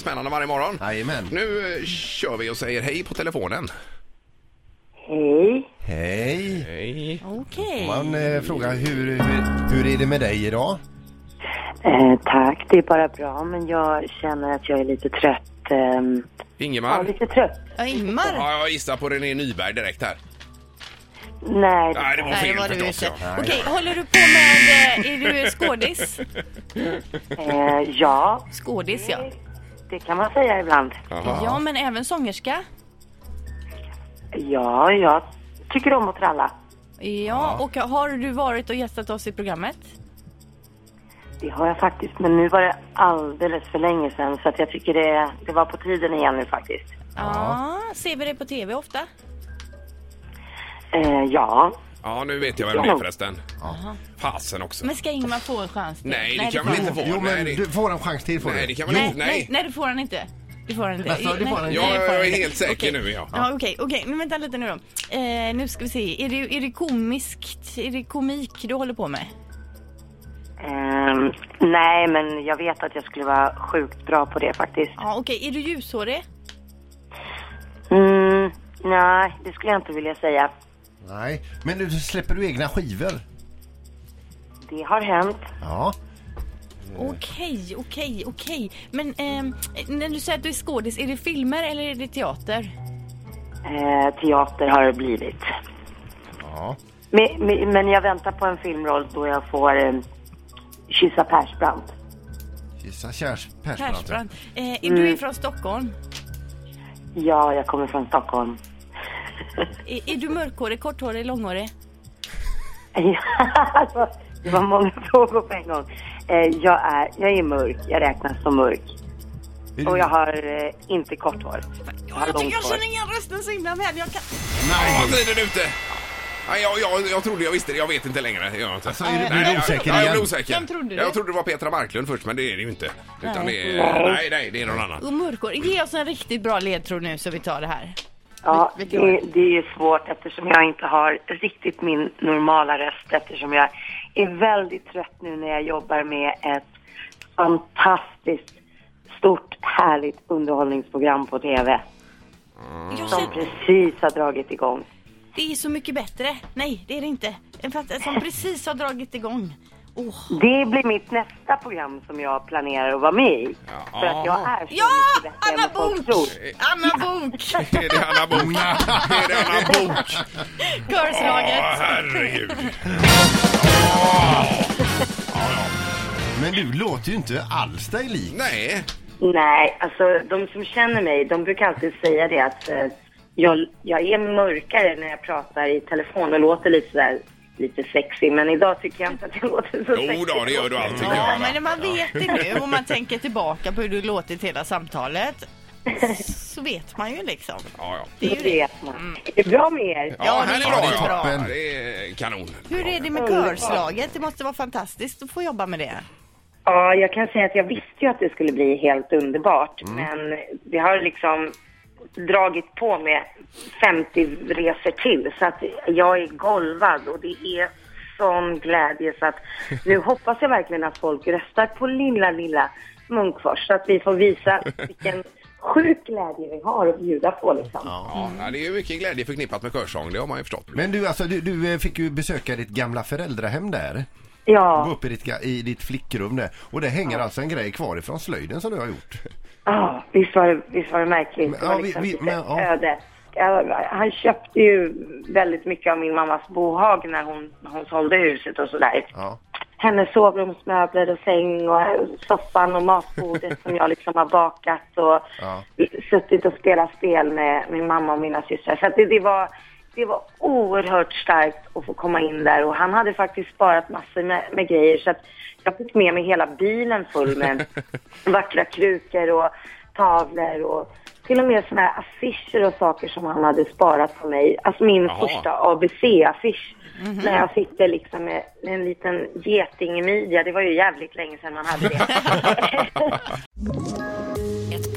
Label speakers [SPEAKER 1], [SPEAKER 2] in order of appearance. [SPEAKER 1] spännande varje morgon.
[SPEAKER 2] Jajamän.
[SPEAKER 1] Nu eh, kör vi och säger hej på telefonen.
[SPEAKER 3] Hej.
[SPEAKER 2] Hej.
[SPEAKER 1] Hej.
[SPEAKER 4] Okej.
[SPEAKER 2] Man eh, frågar hur, hur, hur är det med dig idag?
[SPEAKER 3] Eh, tack, det är bara bra, men jag känner att jag är lite trött. ehm, ja,
[SPEAKER 1] Ingemar?
[SPEAKER 3] lite trött.
[SPEAKER 4] Ja, Ingmar.
[SPEAKER 1] Ja, jag gissar på René Nyberg direkt här.
[SPEAKER 3] Nej,
[SPEAKER 1] Nej, det var
[SPEAKER 4] Nej,
[SPEAKER 1] fel
[SPEAKER 4] det var du
[SPEAKER 1] förstås.
[SPEAKER 4] inte.
[SPEAKER 1] Ja.
[SPEAKER 4] Okej, håller du på med... eh, Är du skådis?
[SPEAKER 3] eh, ja,
[SPEAKER 4] Skådis, ja.
[SPEAKER 3] det kan man säga ibland.
[SPEAKER 1] Jaha.
[SPEAKER 4] Ja, men även sångerska.
[SPEAKER 3] Ja, jag tycker om att tralla.
[SPEAKER 4] Ja, och har du varit och gästat oss i programmet?
[SPEAKER 3] Det har jag faktiskt, men nu var det alldeles för länge sedan så att jag tycker det, det var på tiden igen nu faktiskt.
[SPEAKER 4] Ja. Ser vi dig på tv ofta?
[SPEAKER 3] Eh, ja,
[SPEAKER 1] Ja, nu vet jag vem det är förresten.
[SPEAKER 2] Ja.
[SPEAKER 1] Fasen också.
[SPEAKER 4] Men ska Ingmar få en chans till?
[SPEAKER 1] Nej, det kan
[SPEAKER 4] får
[SPEAKER 1] väl
[SPEAKER 4] han
[SPEAKER 1] inte få.
[SPEAKER 2] Jo,
[SPEAKER 1] Nej,
[SPEAKER 2] men
[SPEAKER 1] det-
[SPEAKER 2] du får en chans till. Får
[SPEAKER 1] Nej,
[SPEAKER 2] du.
[SPEAKER 1] det kan man
[SPEAKER 4] Nej,
[SPEAKER 1] inte.
[SPEAKER 4] nej,
[SPEAKER 1] Nej.
[SPEAKER 4] nej, det får han inte. Det får han inte.
[SPEAKER 2] Alltså, det får han inte.
[SPEAKER 4] nej,
[SPEAKER 1] Ja,
[SPEAKER 4] det
[SPEAKER 1] jag
[SPEAKER 4] får han
[SPEAKER 1] är
[SPEAKER 4] inte.
[SPEAKER 1] helt säker
[SPEAKER 4] Okej.
[SPEAKER 1] nu, ja.
[SPEAKER 4] ja okej, okej, men vänta lite nu då. Eh, nu ska vi se, är det, är det komiskt, är det komik du håller på med?
[SPEAKER 3] ehm, nej men jag vet att jag skulle vara sjukt bra på det faktiskt.
[SPEAKER 4] Ja okej, är du ljushårig?
[SPEAKER 3] Mm, nej, det skulle jag inte vilja säga.
[SPEAKER 2] Nej. Men du, släpper du egna skivor?
[SPEAKER 3] Det har hänt.
[SPEAKER 2] Ja.
[SPEAKER 4] Okej, okej, okej. Men ehm, när du säger att du är skådis, är det filmer eller är det teater?
[SPEAKER 3] Eh, teater har det blivit.
[SPEAKER 2] ja.
[SPEAKER 3] Men, men- men jag väntar på en filmroll då jag får eh, kyssa Persbrandt.
[SPEAKER 2] Gissa Kjärs Persbrandt.
[SPEAKER 4] Persbrandt. Eh, är Du är från Stockholm.
[SPEAKER 3] Ja, jag kommer från Stockholm.
[SPEAKER 4] Är, är du mörkhårig, korthårig, långhårig?
[SPEAKER 3] Ja, alltså, det var många frågor på en gång. Eh, jag, är, jag är mörk, jag räknas som mörk.
[SPEAKER 2] Är
[SPEAKER 3] Och
[SPEAKER 2] du-
[SPEAKER 3] jag har eh, inte kort hår. Jag har
[SPEAKER 4] jag tycker
[SPEAKER 3] långt
[SPEAKER 4] jag
[SPEAKER 3] hår.
[SPEAKER 4] känner igen rösten så himla väl. Jag kan...
[SPEAKER 1] Nej, vad tiden är ute! Nej, jag, jag, jag trodde jag visste det. Jag vet inte längre. Det gör Jag inte.
[SPEAKER 2] Alltså, är du- blir
[SPEAKER 1] Nej,
[SPEAKER 2] du
[SPEAKER 1] jag-
[SPEAKER 2] osäker
[SPEAKER 1] ja, jag
[SPEAKER 2] igen?
[SPEAKER 1] blev osäker.
[SPEAKER 4] Vem trodde du?
[SPEAKER 1] Jag trodde det var Petra Marklund först, men det är det ju inte. Utan
[SPEAKER 4] Nej.
[SPEAKER 1] det är, nej, nej, det är någon annan.
[SPEAKER 4] Och mörkhårig. Ge oss en riktigt bra ledtråd nu så vi tar det här.
[SPEAKER 3] Ja,
[SPEAKER 4] Vilken
[SPEAKER 3] det,
[SPEAKER 4] hår?
[SPEAKER 3] det är ju svårt eftersom jag inte har riktigt min normala röst eftersom jag är väldigt trött nu när jag jobbar med ett fantastiskt stort härligt underhållningsprogram på TV som
[SPEAKER 4] Jag känner,
[SPEAKER 3] precis har dragit igång.
[SPEAKER 4] det är så mycket bättre. Nej, det är det inte. En fatt- som precis har dragit igång. Åh.
[SPEAKER 3] Det blir mitt nästa program som jag planerar att vara med i.
[SPEAKER 1] Ja.
[SPEAKER 3] För att jag är så
[SPEAKER 4] Ja!
[SPEAKER 3] mycket bättre
[SPEAKER 4] Anna
[SPEAKER 3] än vad folk
[SPEAKER 4] Bok!
[SPEAKER 3] tror.
[SPEAKER 4] Anna Bok!
[SPEAKER 1] Det är det Anna Bok. Det är det Anna Bok. Åh,
[SPEAKER 4] Körslaget.
[SPEAKER 1] herregud.
[SPEAKER 2] Men du låter ju inte alls dig lik.
[SPEAKER 1] Nej.
[SPEAKER 3] Nej, alltså de som känner mig, de brukar alltid säga det att eh, jag, jag är mörkare när jag pratar i telefon och låter lite sådär lite sexy, men idag tycker jag inte att jag låter så sexy.
[SPEAKER 1] Jo då, det gör du allt tycker
[SPEAKER 4] Ja,
[SPEAKER 1] jag.
[SPEAKER 4] men man vet det nu om man tänker tillbaka på hur du låtit hela samtalet. Så vet man ju liksom.
[SPEAKER 1] Ja, ja.
[SPEAKER 4] Det är ju
[SPEAKER 3] Det
[SPEAKER 4] det.
[SPEAKER 3] vet
[SPEAKER 1] Mm.
[SPEAKER 3] man. Är det bra med er?
[SPEAKER 1] Ja, här är
[SPEAKER 4] Ja, det
[SPEAKER 1] bra.
[SPEAKER 4] är
[SPEAKER 1] Ja,
[SPEAKER 2] toppen.
[SPEAKER 1] det är kanon.
[SPEAKER 4] Hur är det med körslaget? Det måste vara fantastiskt att få jobba med det.
[SPEAKER 3] Ja, jag kan säga att jag visste ju att det skulle bli helt underbart, men det har liksom dragit på med 50 resor till så att jag är golvad och det är sån glädje så att nu hoppas jag verkligen att folk röstar på lilla, lilla Munkfors så att vi får visa vilken sjuk glädje vi har att bjuda på liksom.
[SPEAKER 1] Ja, nej, det är ju mycket glädje förknippat med körsång, det har man ju förstått.
[SPEAKER 2] Men du, alltså, du, du eh, fick ju besöka ditt gamla föräldrahem där. Gå
[SPEAKER 3] Ja,
[SPEAKER 2] upp i ditt, ga- i ditt flickrum där. Och det hänger alltså en grej kvar ifrån slöjden som du har gjort.
[SPEAKER 3] ah, visst, var det, visst var det märkligt.
[SPEAKER 2] Men,
[SPEAKER 3] det
[SPEAKER 2] ja,
[SPEAKER 3] var
[SPEAKER 2] vi-
[SPEAKER 3] liksom
[SPEAKER 2] vi-
[SPEAKER 3] lite
[SPEAKER 2] men, ja.
[SPEAKER 3] öde. Ja, Han köpte ju väldigt mycket av min mammas bohag när hon, hon sålde huset och sådär.
[SPEAKER 2] Ja.
[SPEAKER 3] hennes sovrumsmöbler och säng och soffan och matbordet som jag liksom har bakat och
[SPEAKER 2] Ja.
[SPEAKER 3] suttit och spelat spel med min mamma och mina systrar. Så att det, det, var, det var oerhört starkt att få komma in där och han hade faktiskt sparat massor med, med grejer så att jag fick med mig hela bilen full med vackra krukor och tavlor och till och med såna här affischer och saker som han hade sparat på mig. Alltså min
[SPEAKER 1] Jaha.
[SPEAKER 3] första ABC-affisch. När jag sitter liksom med en liten getingmidja. Det var ju jävligt länge sedan man hade det.
[SPEAKER 5] Ett